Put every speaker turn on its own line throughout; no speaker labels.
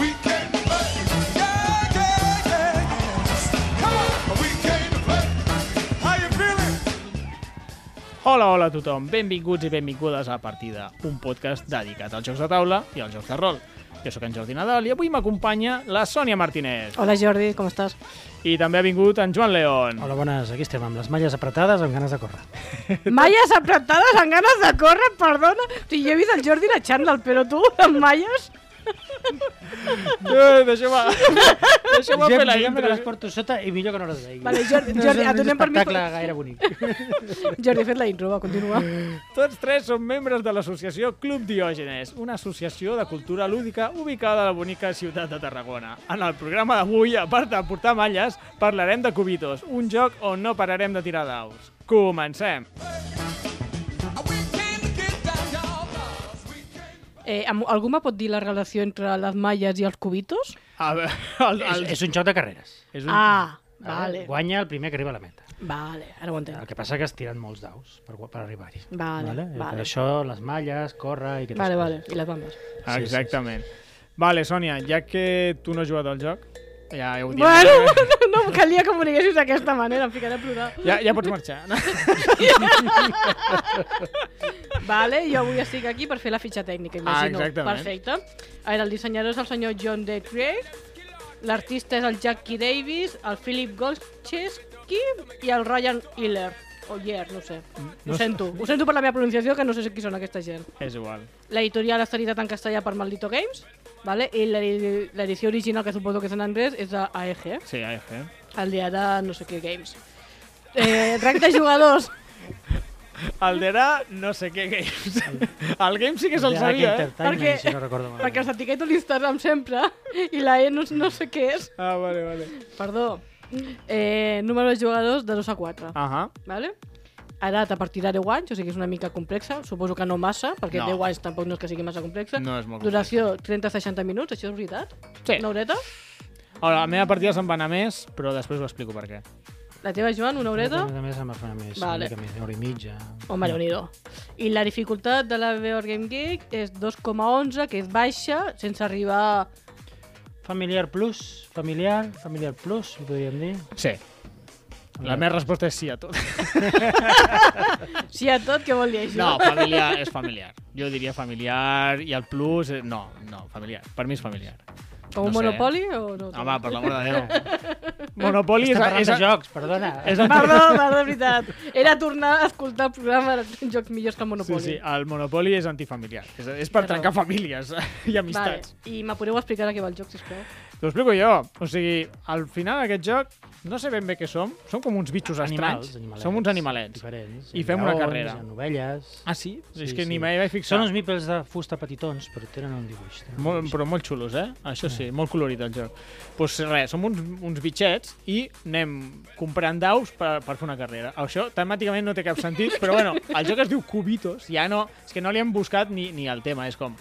We came to play. Yeah, yeah, yeah, yeah. Come on, we came to play. How you feeling?
Hola, hola a tothom. Benvinguts i benvingudes a La Partida, un podcast dedicat als jocs de taula i als jocs de rol. Jo sóc en Jordi Nadal i avui m'acompanya la Sònia Martínez.
Hola Jordi, com estàs?
I també ha vingut en Joan León.
Hola, bones, aquí estem, amb les malles apretades, amb ganes de córrer.
Malles apretades amb ganes de córrer, perdona. O sigui, jo he vist el Jordi la xandall, però tu amb malles...
Eh, Deixeu-me deixeu
jo,
fer la
jo me
intro. eh?
les porto sota i millor que no les veigui.
Vale, Jordi-
no
Jordi,
és un
donem permís-
espectacle gaire bonic.
Jordi, he fet la intro, va, continua.
Tots tres són membres de l'associació Club Diògenes, una associació de cultura lúdica ubicada a la bonica ciutat de Tarragona. En el programa d'avui, a part de portar malles, parlarem de Cubitos, un joc on no pararem de tirar daus. Comencem!
We came to get down, y'all. Cause we came
Eh, am- algú me pot dir la relació entre les malles i els cubitos?
A veure, el,
és,
el,
és un joc de carreres. Eh,
és un...
Ah, vale.
Guanya el primer que arriba a la meta.
Vale, ara ho
El
entenc.
que passa que es tiren molts daus per, gu- per arribar-hi.
Vale,
Per
vale.
això, les malles, córrer i aquestes
Vale, vale,
coses.
i les bambes.
sí,
Exactament. Vale, Sònia, ja que tu no has jugat al joc, ja heu dit...
Bueno, no em calia que m'ho diguessis d'aquesta manera, em ficaré a plorar.
Ja, ja pots marxar. No?
Vale, jo avui estic aquí per fer la fitxa tècnica, imagino.
Ah, exactament.
Perfecte. A veure, el dissenyador és el senyor John D. Craig, l'artista és el Jackie Davis, el Philip Golcheski i el Ryan Hiller. O Yer, no ho sé.
no
No ho
sé.
sento. Ho sento per la meva pronunciació, que no sé qui són aquesta gent.
És igual.
L'editorial està editat en castellà per Maldito Games, vale? i l'edi- l'edició original, que suposo que és en anglès, és de AEG,
Sí, ja, ja.
el dia de no sé què Games. Eh, rang de jugadors.
El d'era no sé què games. El game sí que se'l
Ja,
sabia,
que
eh?
Entertainment,
Perquè-
si no recordo
Ah.
malament.
Perquè els etiqueto l'Instagram sempre i la E no, no sé què és.
Ah, vale, vale.
Perdó. Eh, número de jugadors de 2 a 4. Ah.
Ahà.
Vale? Edat a partir de 10 anys, o sigui, és una mica complexa. Suposo que no massa, perquè
No.
no. 10 anys tampoc no és que sigui massa complexa.
No és molt
Duració 30-60 minuts, això és veritat?
Sí.
Una horeta?
Ara, la meva partida se'n va anar més, però després ho explico per què.
La teva, Joan, una horeta?
A més, em va fer una més,
Vale.
una mica més, una hora i mitja.
Home, déu nhi I la dificultat de la VR Game Geek és 2,11, que és baixa, sense arribar...
Familiar plus, familiar, familiar plus, ho podríem dir.
Sí. La meva resposta és sí a tot.
Sí a tot, què vol dir això?
No, familiar és familiar. Jo diria familiar i el plus... eh, No, no, familiar. Per mi és familiar.
Com un
no sé.
monopoli o no?
Home, per l'amor de Déu. Monopoli és,
Estem parlant
eh? és,
de jocs, perdona.
és el
Perdó, perdó, de veritat. Era tornar a escoltar el programa de jocs millors que el
Sí,
Monopoli.
sí, el monopoli és antifamiliar. És, és per
Té
trencar famílies i
Vale.
amistats.
I me podeu explicar a què va el joc, sisplau?
Vale. T'ho explico jo. O sigui, al final d'aquest joc no sé ben bé què som. Som com uns bitxos
animals,
estranys.
animalets.
Som uns animalets.
Diferents.
I fem una
Lleons,
carrera.
hi ha ovelles...
Ah, sí? sí és
Sí,
que
sí.
ni m'hi vaig fixar.
Són uns mipels de fusta petitons, però tenen un dibuix. Tenen un
Ah, Molt,
dibuix.
però molt xulos, eh? Això sí, molt colorit el joc. Doncs pues res, som uns, uns bitxets i anem comprant daus per, per fer una carrera. Això temàticament no té cap sentit, però bueno, el joc es diu Cubitos, ja no... És que no li hem buscat ni, ni el tema, és com...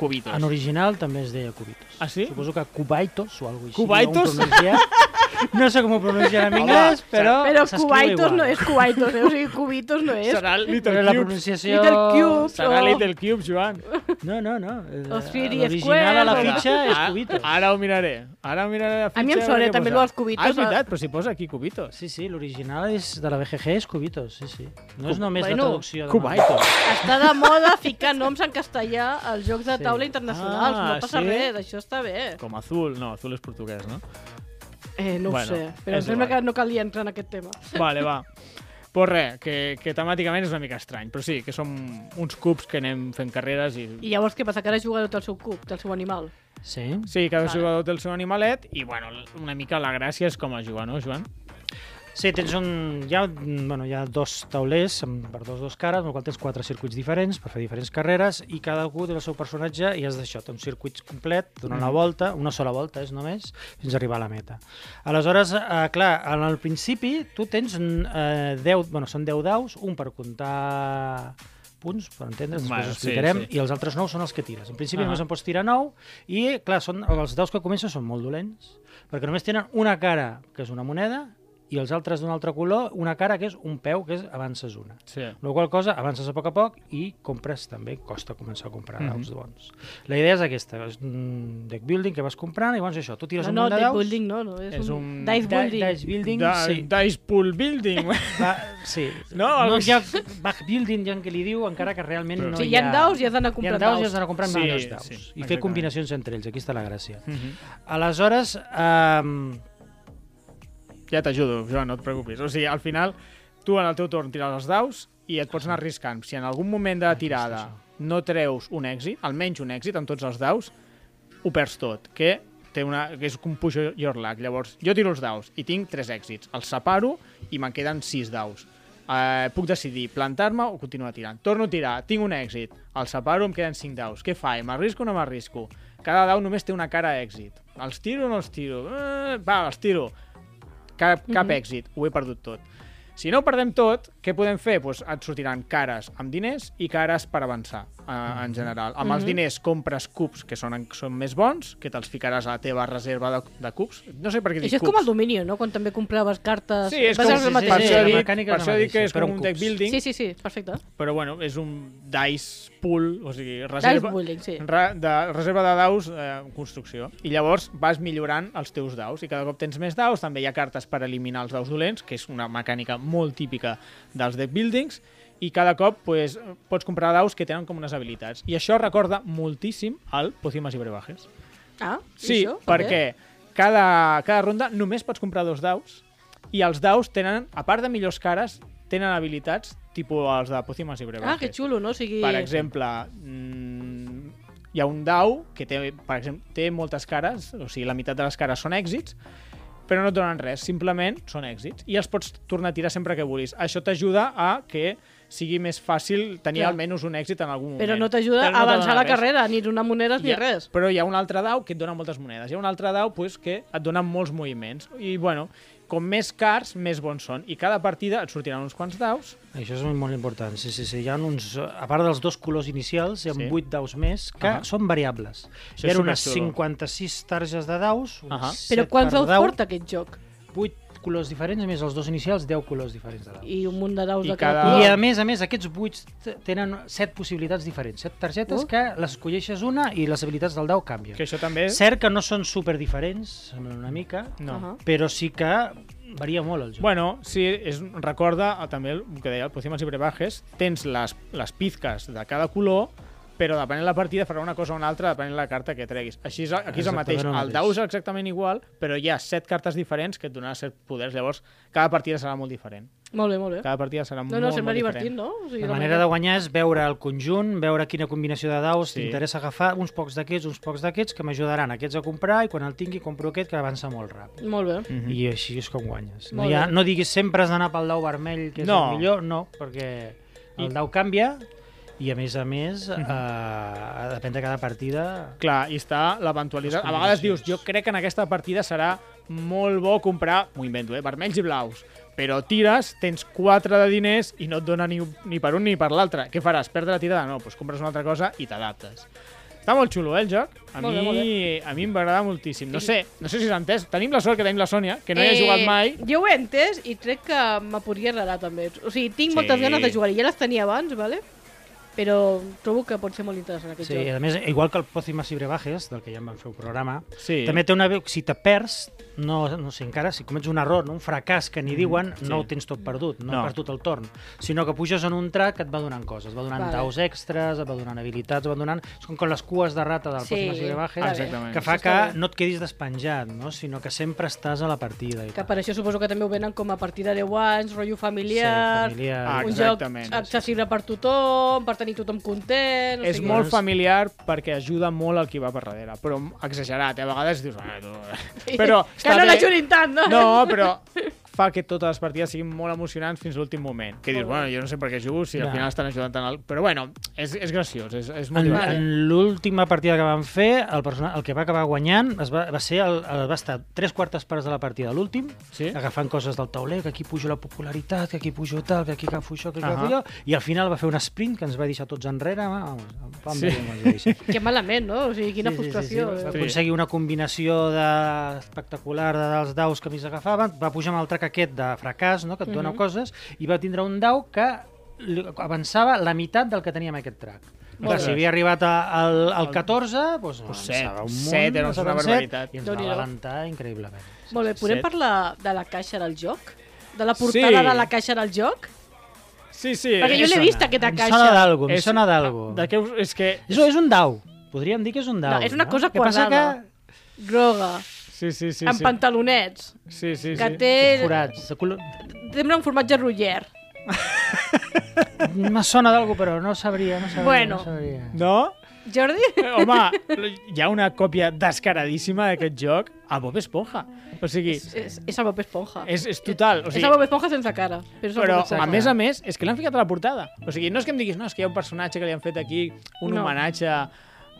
Cubitos.
En original també es deia cubitos.
Ah, sí?
Suposo que cubaitos o alguna cosa així.
Cubaitos?
ho pronuncia. No sé com ho pronunciar en anglès, però
Però
s'escriu
Cubaitos
igual.
no és Cubaitos, eh? O sigui, Cubitos no és.
Serà el
Però
Little
la
Cubes.
pronunciació...
Little Cubes.
Serà
Oh.
Little Cube, Joan.
No, no, no.
O Three
L'original a la
Squares.
fitxa és
Ah,
cubitos.
Ara ho miraré. Ara ho miraré a la fitxa.
A mi em sona
veure què
també
posa.
lo dels cubitos,
Ah, és
eh?
veritat, però si posa aquí cubitos.
Sí, sí, l'original és de la BGG és cubitos, sí, sí. No és només
Bueno,
la traducció. de
Cubaitos.
Està de moda ficar noms en castellà als jocs de taula
Sí.
internacionals.
Ah,
no passa
sí?
res, això està bé.
Com azul. No, azul és portuguès, no?
Eh, no
Bueno,
ho sé, però
és
em sembla
igual.
que no calia entrar en aquest tema.
Vale, va. Pues res, que, que temàticament és una mica estrany, però sí, que som uns cubs que anem fent carreres i...
I llavors què passa? Que ara jugareu del seu cub, del seu animal.
norma. Sí.
Sí, cada
Vale.
jugador té el seu animalet i, bueno, una mica la gràcia és com a jugar, no, Joan?
Sí, tens un... Hi ha, mm, bueno, hi ha dos taulers amb, per dos dos cares, amb el qual tens quatre circuits diferents per fer diferents carreres i cadascú té el seu personatge i has d'això, té un circuit complet,
Mm-hmm.
donant la volta, una sola volta és només, fins a arribar a la meta. Aleshores, eh, clar, en el principi tu tens mm, eh, 10, bueno, són 10 daus, un per comptar punts, per entendre's,
Bueno, sí,
després ho explicarem,
sí.
i els altres 9 són els que tires. En principi
Ah.
Ahà.
només en pots tirar 9, i clar, són, els daus que comencen són molt dolents, perquè només tenen una cara, que és una moneda, i els altres d'un altre color, una cara que és un peu, que és avances una.
Sí.
La qual cosa, avances a poc a poc i compres també, costa començar a comprar
Mhm.
daus bons. La idea és aquesta, és un deck building que vas comprant i llavors això, tu tires
No,
un
no,
munt de
deck
daus...
building no, no, és,
És
un...
un-
Dice
Di-
building.
Dice building,
Da,
sí.
Dice Pool Building.
Va, sí.
No,
no
algo
hi ha back building, ja en què li diu, encara que realment
Però-
no
sí,
hi
hi ha daus i has d'anar
Hi ha
comprant
daus i has
daus.
d'anar comprant
Sí,
sí, millors daus.
sí,
Sí, I fer
exactament.
combinacions entre ells, aquí està la gràcia.
Mm -hmm.
Aleshores, eh,
Ja t'ajudo, Joan, no et preocupis. O sigui, al final, tu en el teu torn tires els daus i et pots anar arriscant. Si en algun moment de la tirada no treus un èxit, almenys un èxit en tots els daus, ho perds tot, que té una, que és un push your luck. Llavors, jo tiro els daus i tinc tres èxits. Els separo i me'n queden sis daus. Eh, puc decidir plantar-me o continuar tirant. Torno a tirar, tinc un èxit, el separo, em queden cinc daus. Què faig? M'arrisco o no m'arrisco? Cada dau només té una cara a èxit. Els tiro o no els tiro? Eh, va, els tiro cap,
Mhm.
cap èxit, ho he perdut tot. Si no ho perdem tot, què podem fer? Doncs et sortiran cares amb diners i cares per avançar, eh,
Mhm.
en general. Amb els diners compres cups que són, són més bons, que te'ls ficaràs a la teva reserva de, de cups. No sé per què dic
Això és
cups.
com el Dominion, no? Quan també compraves cartes...
Sí, és
Vas
com,
al
sí, sí,
mateix
per
sí,
això
la
dic-
mecànica
per
és
això
la
dic que
mateixa,
és
però
com
amb
un deck
cups.
building,
Sí, sí, sí, perfecte.
però bueno, és un dice pool, o sigui, reserva,
building, sí.
re, de, reserva de daus eh, construcció. I llavors vas millorant els teus daus i cada cop tens més daus, també hi ha cartes per eliminar els daus dolents, que és una mecànica molt típica dels deck buildings, i cada cop pues, pots comprar daus que tenen com unes habilitats. I això recorda moltíssim al Pocimas i Brebajes.
Ah, i
Sí,
això?
perquè cada, cada ronda només pots comprar dos daus i els daus tenen, a part de millors cares, tenen habilitats tipus els de Pocimas i Brebajes.
Ah, que xulo, no? O sigui...
Per exemple, mm, hi ha un dau que té, per exemple, té moltes cares, o sigui, la meitat de les cares són èxits, però no et donen res, simplement són èxits. I els pots tornar a tirar sempre que vulguis. Això t'ajuda a que sigui més fàcil tenir
Clar.
almenys un èxit en algun moment.
Però no t'ajuda
Però
a
no te
avançar
dona
la
res.
carrera, ni donar monedes ni
Hi ha-
res.
Però hi ha un altre dau que et dona moltes monedes. Hi ha un altre dau pues, que et dona molts moviments. I, bueno, com més cars, més bons són. I cada partida et sortiran uns quants daus
això és molt important. Sí, sí, sí. Hi ha uns, a part dels dos colors inicials, hi ha
Sí.
8 daus més que
Ahà.
són variables.
Això
Hi
és
ha unes
superxulo.
56 targes de daus, uns
Ahà.
set
Però quants
per
daus
dau,
porta aquest joc?
8 colors diferents, més els dos inicials, 10 colors diferents de daus.
I un munt de daus
I
de cada...
cada-
color.
I a més a més, aquests buits t- tenen set possibilitats diferents, set targetes
Oh.
que les colleixes una i les habilitats del dau canvien.
que això també...
Cert que no són super diferents, semblen una mica,
No.
Ahà.
però sí que varia molt el joc.
Bueno, sí, és, recorda eh, també el que deia el Pocimas i Brebajes, tens les, les pizques de cada color, però depenent la partida farà una cosa o una altra depenent la carta que treguis. Així és, aquí és el
Exactament
mateix.
el
El
mateix.
dau és exactament igual, però hi ha set cartes diferents que et donaran set poders. Llavors, cada partida serà molt diferent.
Molt bé, molt bé.
Cada partida serà
No,
molt,
no,
molt
sembla
diferent.
divertit, no? O sigui,
la manera de guanyar és veure el conjunt, veure quina combinació de daus
Sí.
t'interessa agafar, uns pocs d'aquests, uns pocs d'aquests, que m'ajudaran aquests a comprar i quan el tingui compro aquest que avança molt ràpid.
Molt bé.
Mhm.
I així és com guanyes. No,
Molt
hi ha,
bé.
no diguis sempre has d'anar pel dau vermell, que és
No.
el millor, no, perquè el
I- Mhm.
dau canvia i a més a més, eh, depèn de cada partida...
Clar, i està l'eventualitat.
Les
A vegades dius,
combinacions.
jo crec que en aquesta partida serà molt bo comprar, m'ho invento, eh, vermells i blaus, però tires, tens 4 de diners i no et dona ni, ni per un ni per l'altre. Què faràs? Perdre la tirada? No, doncs compres una altra cosa i t'adaptes. Està molt xulo, eh, el joc? A
Molt bé, molt
mi, a mi em va agradar moltíssim. No sé, no sé si s'ha entès. Tenim la sort que tenim la Sònia, que no hi ha
Eh,
jugat mai.
Jo ho he entès i crec que me podria agradar també. O sigui, tinc
Sí.
moltes ganes de jugar-hi. Ja les tenia abans, ¿vale? però trobo que pot ser molt interessant aquest
Sí,
joc.
a més, igual que el Pocimas i Brebajes, del que ja en vam fer un programa,
Sí.
També té una veu, si te perds, no, no sé encara, si comets un error, no? un fracàs
Mm,
que ni diuen,
sí.
no ho tens tot perdut,
No.
no, no. has perdut el torn, sinó que puges en un track que et va donant coses, et va donant
Vale.
vale. daus extras, et va donant habilitats, et va donant... És com, com les cues de rata del
Sí,
sí. Cosmas i de Bajes,
està
bé.
que fa
Això
que
està bé.
no et quedis despenjat, no? sinó que sempre estàs a la partida. I
Que
tal.
per això suposo que també ho venen com a partida de 10 anys, rotllo familiar,
Sí, familiar.
Ah,
un joc
Exactament.
accessible per tothom, per tenir tothom content...
És molt familiar perquè ajuda molt al qui va per darrere, però exagerat, eh? a vegades dius... Ah, tu... Però
que
està bé.
no l'ajudin tant, no?
No, però fa que totes les partides siguin molt emocionants fins a l'últim moment. Que dius, bueno, jo no sé per què jugo, si al
Ja.
final estan ajudant tant... Al... Però bueno, és, és graciós, és, és molt
En,
divertit.
en l'última partida que vam fer, el, persona, el que va acabar guanyant es va, va ser el, el, va estar tres quartes parts de la partida, l'últim,
Sí.
agafant coses del tauler, que aquí pujo la popularitat, que aquí pujo tal, que aquí agafo això, que aquí
Ahà.
agafo allò, i al final va fer un sprint que ens va deixar tots enrere. Vamos, vam
Sí.
sí. deixar.
Que malament, no? O sigui, quina
Sí, sí, sí,
frustració. eh?
Sí, Va
Sí.
aconseguir una combinació de... espectacular de, dels daus que més agafaven, va pujar amb el trac aquest de fracàs, no? que et dona
Mhm.
coses, i va tindre un dau que li- avançava la meitat del que tenia amb aquest trac. Clar,
bé.
si havia arribat a, al, al 14, doncs,
Pues
avançava
set,
un
set era
avançava
una
set,
barbaritat.
I ens
Déu-n'hi-do.
va alentar increïblement.
Molt bé, podem
Set.
parlar de la caixa del joc? De la portada
Sí.
de la caixa del joc?
Sí, sí.
Perquè jo
és-
l'he
Em
vist,
sona-
aquesta
Em sona
caixa.
d'algo, em
És-
sona d'algo.
De què us... És que...
És, és un dau, podríem dir que és un dau.
No, és una cosa
El que passa
quadrada. Groga,
Sí, sí, sí.
amb
sí.
pantalonets,
Sí, sí,
que
sí.
té...
Que... Forats, de color...
Sembla un formatge rotller.
Me sona d'algo, però no sabria, no sabria.
Bueno.
no sabria.
No?
Jordi?
Eh, Home, hi ha una còpia descaradíssima d'aquest joc a Bob Esponja. O sigui,
És, és, és el Bob Esponja.
és, és total. O
És
sigui,
el Bob Esponja sense cara. Però, és el
però,
Bob Esponja.
a més a més, és que l'han ficat a la portada. O sigui, no és que em diguis, no, és que hi ha un personatge que li han fet aquí un
No.
homenatge a-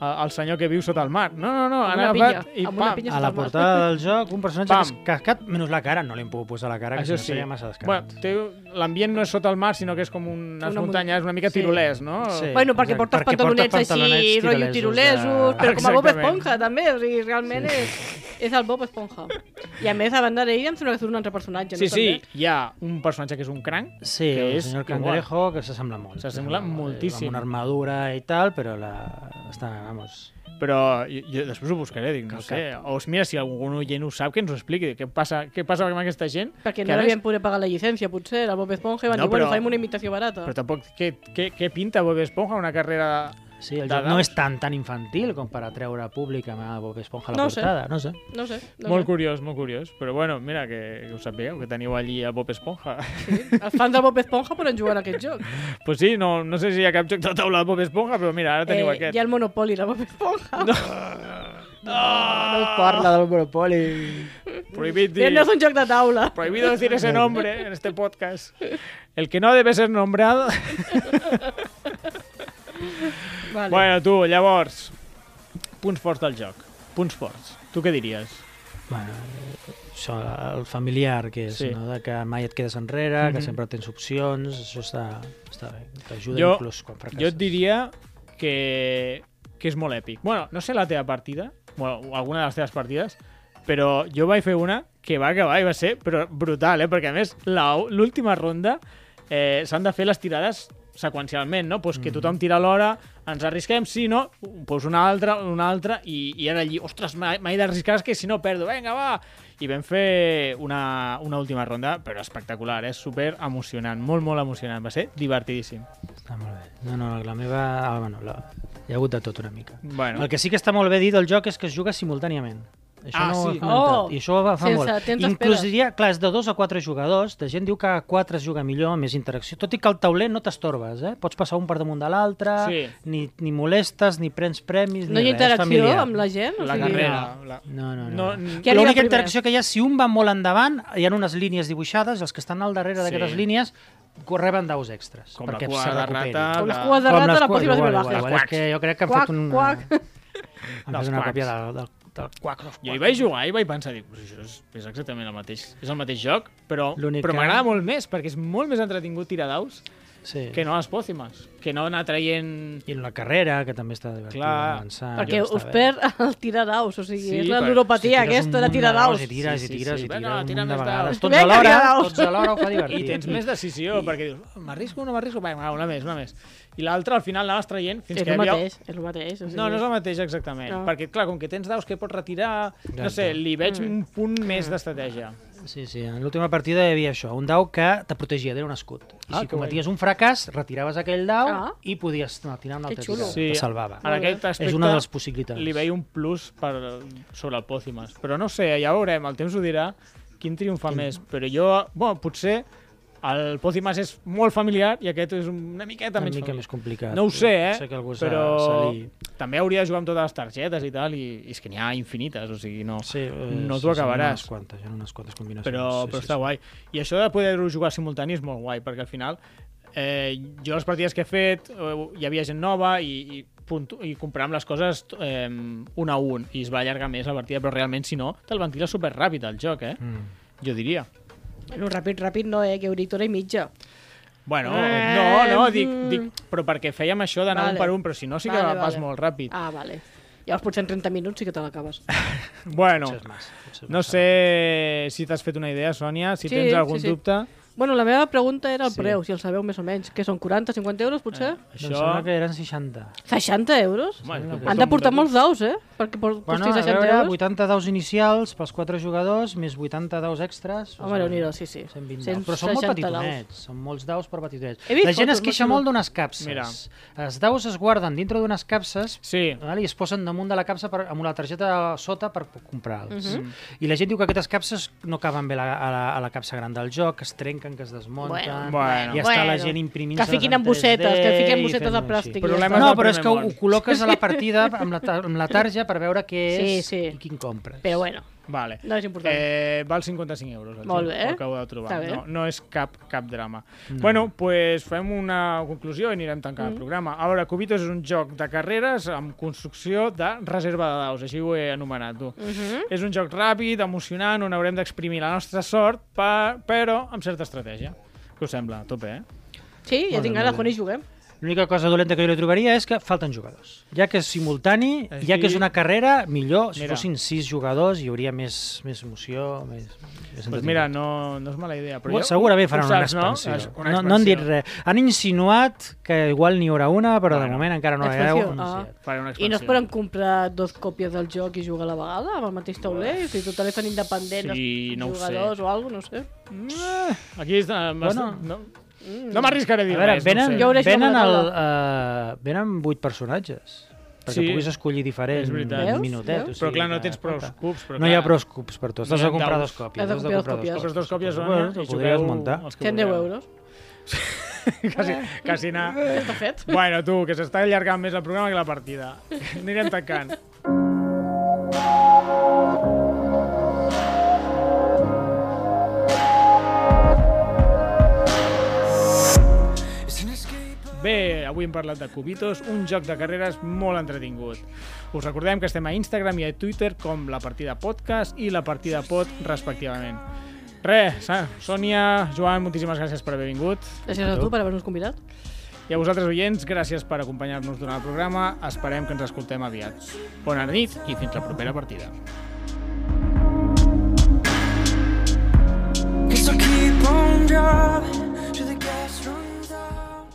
al senyor que viu sota el mar. No, no, no,
Amb
han
una
agafat
pinya,
i
amb una
pam.
pinya.
A la
Està mal.
portada del joc, un personatge
Pam.
que és cascat, menys la cara, no li hem pogut posar la cara, que
Això
si no
sí.
seria massa descarat.
Bueno, té- l'ambient no és sota el mar, sinó que és com unes
Una munt-
muntanyes, una mica
sí.
tirolès, no?
Sí.
Bueno, perquè
Exacte.
porta els
Perquè
pantalonets,
porta
així,
pantalonets
rotllo
tirolesos
tirolesos,
de-
però com a Bob
Exactament.
Esponja, també, o sigui, realment és, és el Bob Esponja. I a més, a banda d'ell, em sembla que surt un altre personatge,
Sí,
no?
sí, hi ha un personatge que és un cranc,
Sí,
que
el
és
senyor
igual.
Cangrejo, que s'assembla molt.
S'assembla
S'assembla molt,
moltíssim.
Amb una armadura i tal, però la... està, vamos...
però jo, jo després ho buscaré, dic, no
Cal
sé. O s- mira, si algun oient ho sap, que ens ho expliqui. Què passa, què passa amb aquesta gent?
Perquè
Que
no
a
l'havien poder pagar la llicència, potser, el Bob Esponja, i van
No,
dir, bueno,
però-
farem una imitació barata.
Però tampoc, què, què, què pinta Bob Esponja una carrera...
Sí, el
De
joc
daus.
no és tan tan infantil com per atreure públic amb el Bob Esponja a la
No ho sé.
portada, no sé.
No sé, no
molt
sé.
curiós, molt curiós. Però bueno, mira, que, que ho sapigueu, que teniu allí a Bob Esponja.
Els fans de Bob Esponja poden jugar a aquest joc.
pues sí, no, no sé si hi ha cap joc de taula de Bob Esponja, però mira, ara teniu aquest.
Eh, hi ha el Monopoli de Bob Esponja. No,
Ah.
No parla del Bropoli.
Prohibit dir...
Però no és un joc de taula.
Prohibido decir ese nombre en este podcast. El que no debe ser nombrado...
Vale.
Bueno, tu, llavors, punts forts del joc. Punts forts. Tu què diries?
Bueno, això, el familiar que és,
Sí.
sí. no? De que mai et quedes enrere, mm -hmm. que
Mhm.
sempre tens opcions, això està, està bé, t'ajuda
Jo-
inclús quan fracasses.
Jo et diria que, que és molt èpic. Bueno, no sé la teva partida, bueno, o alguna de les teves partides, però jo vaig fer una que va acabar i va ser però brutal, eh? perquè a més la- l'última ronda eh, s'han de fer les tirades seqüencialment, no? Pues
Mm.
que tothom tira l'hora, ens arrisquem, si no, pues una altra, una altra, i, i era allí, ostres, m'ha- m'he d'arriscar, és que si no perdo, vinga, va! I vam fer una, una última ronda, però espectacular, és eh? super emocionant, molt, molt emocionant, va ser divertidíssim.
Està Ah, molt bé. No, no, la meva... Ah, bueno, la... hi ha hagut de tot una mica.
Bueno.
El que sí que està molt bé dit del joc és que es juga simultàniament. Això
Ah,
no ho
sí.
he comentat.
Oh!
I això va fa
Sense
molt.
temps
Inclús
d'espera.
diria, clar, és de dos a quatre jugadors. De gent diu que a quatre es juga millor, més interacció. Tot i que el tauler no t'estorbes, eh? Pots passar un per damunt de l'altre,
Sí.
ni, ni molestes, ni prens premis,
No
ni
hi ha
res.
interacció
familiar.
amb la gent? O
La
sigui,
carrera. La...
No,
No,
no, no.
n-
Què
L'única
primer?
interacció que hi ha, si un va molt endavant, hi ha unes línies dibuixades, els que estan al darrere
Sí.
d'aquestes línies reben daus extres.
Com la
perquè
cua
se
de
recuperin.
rata,
Com les
la-
cues de
Com
rata,
les
la
cua-
pòssima de
igual,
Velázquez.
igual, és que jo crec que han
Quac,
fet una...
quac.
Han
Dels
fet una
quacs.
còpia del, del, del quack. dels
Jo hi
quacs.
vaig jugar i vaig pensar, dic, "Pues això és, és exactament el mateix, és el mateix joc, però,
L'únic
però
que-
m'agrada molt més, perquè és molt més entretingut tirar daus
Sí.
que no les pòcimes, que no anar traient...
I en la carrera, que també està divertida
Clar,
avançant.
Perquè
està
us
bé.
perd el tirar daus, o sigui,
Sí,
és la
però-
Tires
neuropatia
un
aquesta de
munt
tirar
daus
daus.
I tires,
Sí,
i
sí,
tires,
sí.
i
Bueno,
tires
tira més
un munt de
daus.
vegades. Tots
Vinga,
a l'hora,
tira daus.
tots a l'hora ho fa divertit.
I tens més decisió, perquè dius, "Oh, m'arrisco o no m'arrisco? Va, va, una més, una més. I l'altra al final anaves traient fins
És
que
el
hi havia...
mateix, és el mateix. O sigui,
No, no és el mateix exactament,
No.
perquè clar, com que tens daus que pots retirar, no
Exacte.
sé, li veig un punt més d'estratègia.
Sí, sí, en l'última partida hi havia això, un dau que te protegia, era un escut. I
Ah,
si
que
cometies un fracàs, retiraves aquell dau
Ah.
i podies no, tirar una
Que
altra
xulo.
tirada.
Sí.
Te salvava.
En aquest aspecte...
És una de les possibilitats.
li veia un plus per, sobre el Pòcimes. Però no sé, ja veurem, el temps ho dirà quin triomfa més. Però jo, bueno, potser El Pocimas és molt familiar i aquest és una miqueta
Una
menys
mica
familiar.
més complicat.
No ho sé, eh?
Sé que algú s'ha-
però
se li-
també hauria de jugar amb totes les targetes i tal, i, i és que n'hi ha infinites, o sigui, no.
Sí, eh,
No
sí,
t'ho
sí, hi ha
acabaràs.
Unes quantes, hi ha unes quantes combinacions.
però,
sí,
però
sí,
està
sí.
guai. I això de poder-ho jugar simultani és molt guai, perquè al final eh, jo les partides que he fet eh, hi havia gent nova i, i, puntu, i compràvem les coses eh, un a un i es va allargar més la partida, però realment si no te'l ventila superràpid el joc, eh?
Mm.
Jo diria.
Bueno, ràpid, ràpid no, eh, que hauria hora i mitja.
Bueno,
Eh,
no, no, dic,
mm.
dic, però perquè fèiem això d'anar
Vale.
un per un, però si no sí que
Vale,
vale, vas
vale.
molt ràpid.
Ah, vale. Llavors potser en 30 minuts sí que te l'acabes.
Bueno,
Potser és mas, potser és
no
mas.
sé si t'has fet una idea, Sònia, si
Sí,
tens algun
sí, sí.
dubte.
Bueno, la meva pregunta era el
Sí. Eh,
preu, si el sabeu més o menys. Que són 40, 50 euros, potser?
Això...
Això... Em Doncs sembla que eren 60.
Eh. 60 euros?
Home, és que
Han
porta
de
un
portar
munt
molts daus, eh? Perquè por-
Bueno,
costi
a
60
veure,
euros.
80 daus inicials pels 4 jugadors, més 80 daus extres.
Home, déu nhi sí, sí.
120 daus. Però són molt
160
petitonets, són molts daus per petitonets.
He vist
La gent
fotos,
es queixa
molt xulo.
molt d'unes capses.
Mira.
Els daus es guarden dintre d'unes capses
Sí,
Ah.
Val? i es posen damunt de la capsa per, amb una targeta a sota per comprar-los.
Mhm.
I la gent diu que aquestes capses no caben bé la, a, la, a la capsa gran del joc, que es trenquen, que es desmunten...
Bueno.
I està la gent imprimint-se
Que fiquin en bossetes, que fiquin bossetes de plàstic. i ja
Problemes
està.
No,
del
però és
primer
que ho,
món.
ho col·loques a la partida amb la, tar- amb la tarja per veure què
Sí,
és
sí.
i quin compres.
Però bueno,
Vale.
No és important.
Eh, val 55 euros. El
Molt
joc,
bé.
ho acabo de trobar.
Està bé.
No, no és cap, cap drama. No. Bueno, pues fem una conclusió i anirem tancant mm. el programa. A veure, Cubitos és un joc de carreres amb construcció de reserva de daus, així ho he anomenat tu. Mm
Mhm.
-hmm. És un joc ràpid, emocionant, on haurem d'exprimir la nostra sort, pa, però amb certa estratègia. Què us sembla? A tope, eh?
sí, ja
Molt
tinc
bé,
ganes
molt
quan
bé.
hi juguem.
L'única cosa dolenta que jo li trobaria és que falten jugadors. Ja que és simultani,
Així-
ja que és una carrera, millor, si
Eh, Mira.
fossin sis jugadors hi hauria més, més emoció, més... més
Doncs pues
entreteniment.
mira, no, no és mala idea. Però
Però
jo-
Segurament faran
ho
una
saps, no?
expansió.
Es- Una
No,
expansió.
no han dit res. Han insinuat que igual n'hi haurà una, però de
Bueno.
moment encara no l'haurà
Expansió, Ah.
anunciat.
Faré una
I
expansió.
no es poden comprar dos còpies del joc i jugar a la vegada amb el mateix tauler? Si total és tan independent
Sí,
els
no ho sé.
jugadors o alguna no ho sé.
Eh, Aquí està...
Bueno.
Bueno. No, no m'arriscaré a dir
A veure,
res.
venen,
no ho
Mm. Jo
sé.
hauré
venen,
jugat a
el,
la
uh, venen vuit personatges. Perquè
Sí.
puguis escollir diferent
És veritat.
un
Veus?
minutet.
Veus?
O sigui,
Però clar, no
que
tens prou
compte.
cups. Però,
No hi
clar,
ha prou cups per tots. T'has
N'hi
de
ha
comprar
daus.
dos còpies.
Has de
has
comprar dos còpies.
Les dues còpies van
Bueno,
anar
ho
eh? i
podries
jugueu
muntar.
els que
110
vulgueu.
euros.
Quasi, quasi anar...
Està fet.
Bueno, tu, que s'està allargant més el programa que la partida. Anirem tancant. Bé, avui hem parlat de Cubitos, un joc de carreres molt entretingut. Us recordem que estem a Instagram i a Twitter com la partida podcast i la partida pod, respectivament. Res, Sa- Sònia, Joan, moltíssimes gràcies per haver vingut.
Gràcies a tu per haver-nos convidat.
I a vosaltres, oients, gràcies per acompanyar-nos durant el programa. Esperem que ens escoltem aviat. Bona nit i fins la propera partida.
Guess I'll keep on driving till the gas runs out.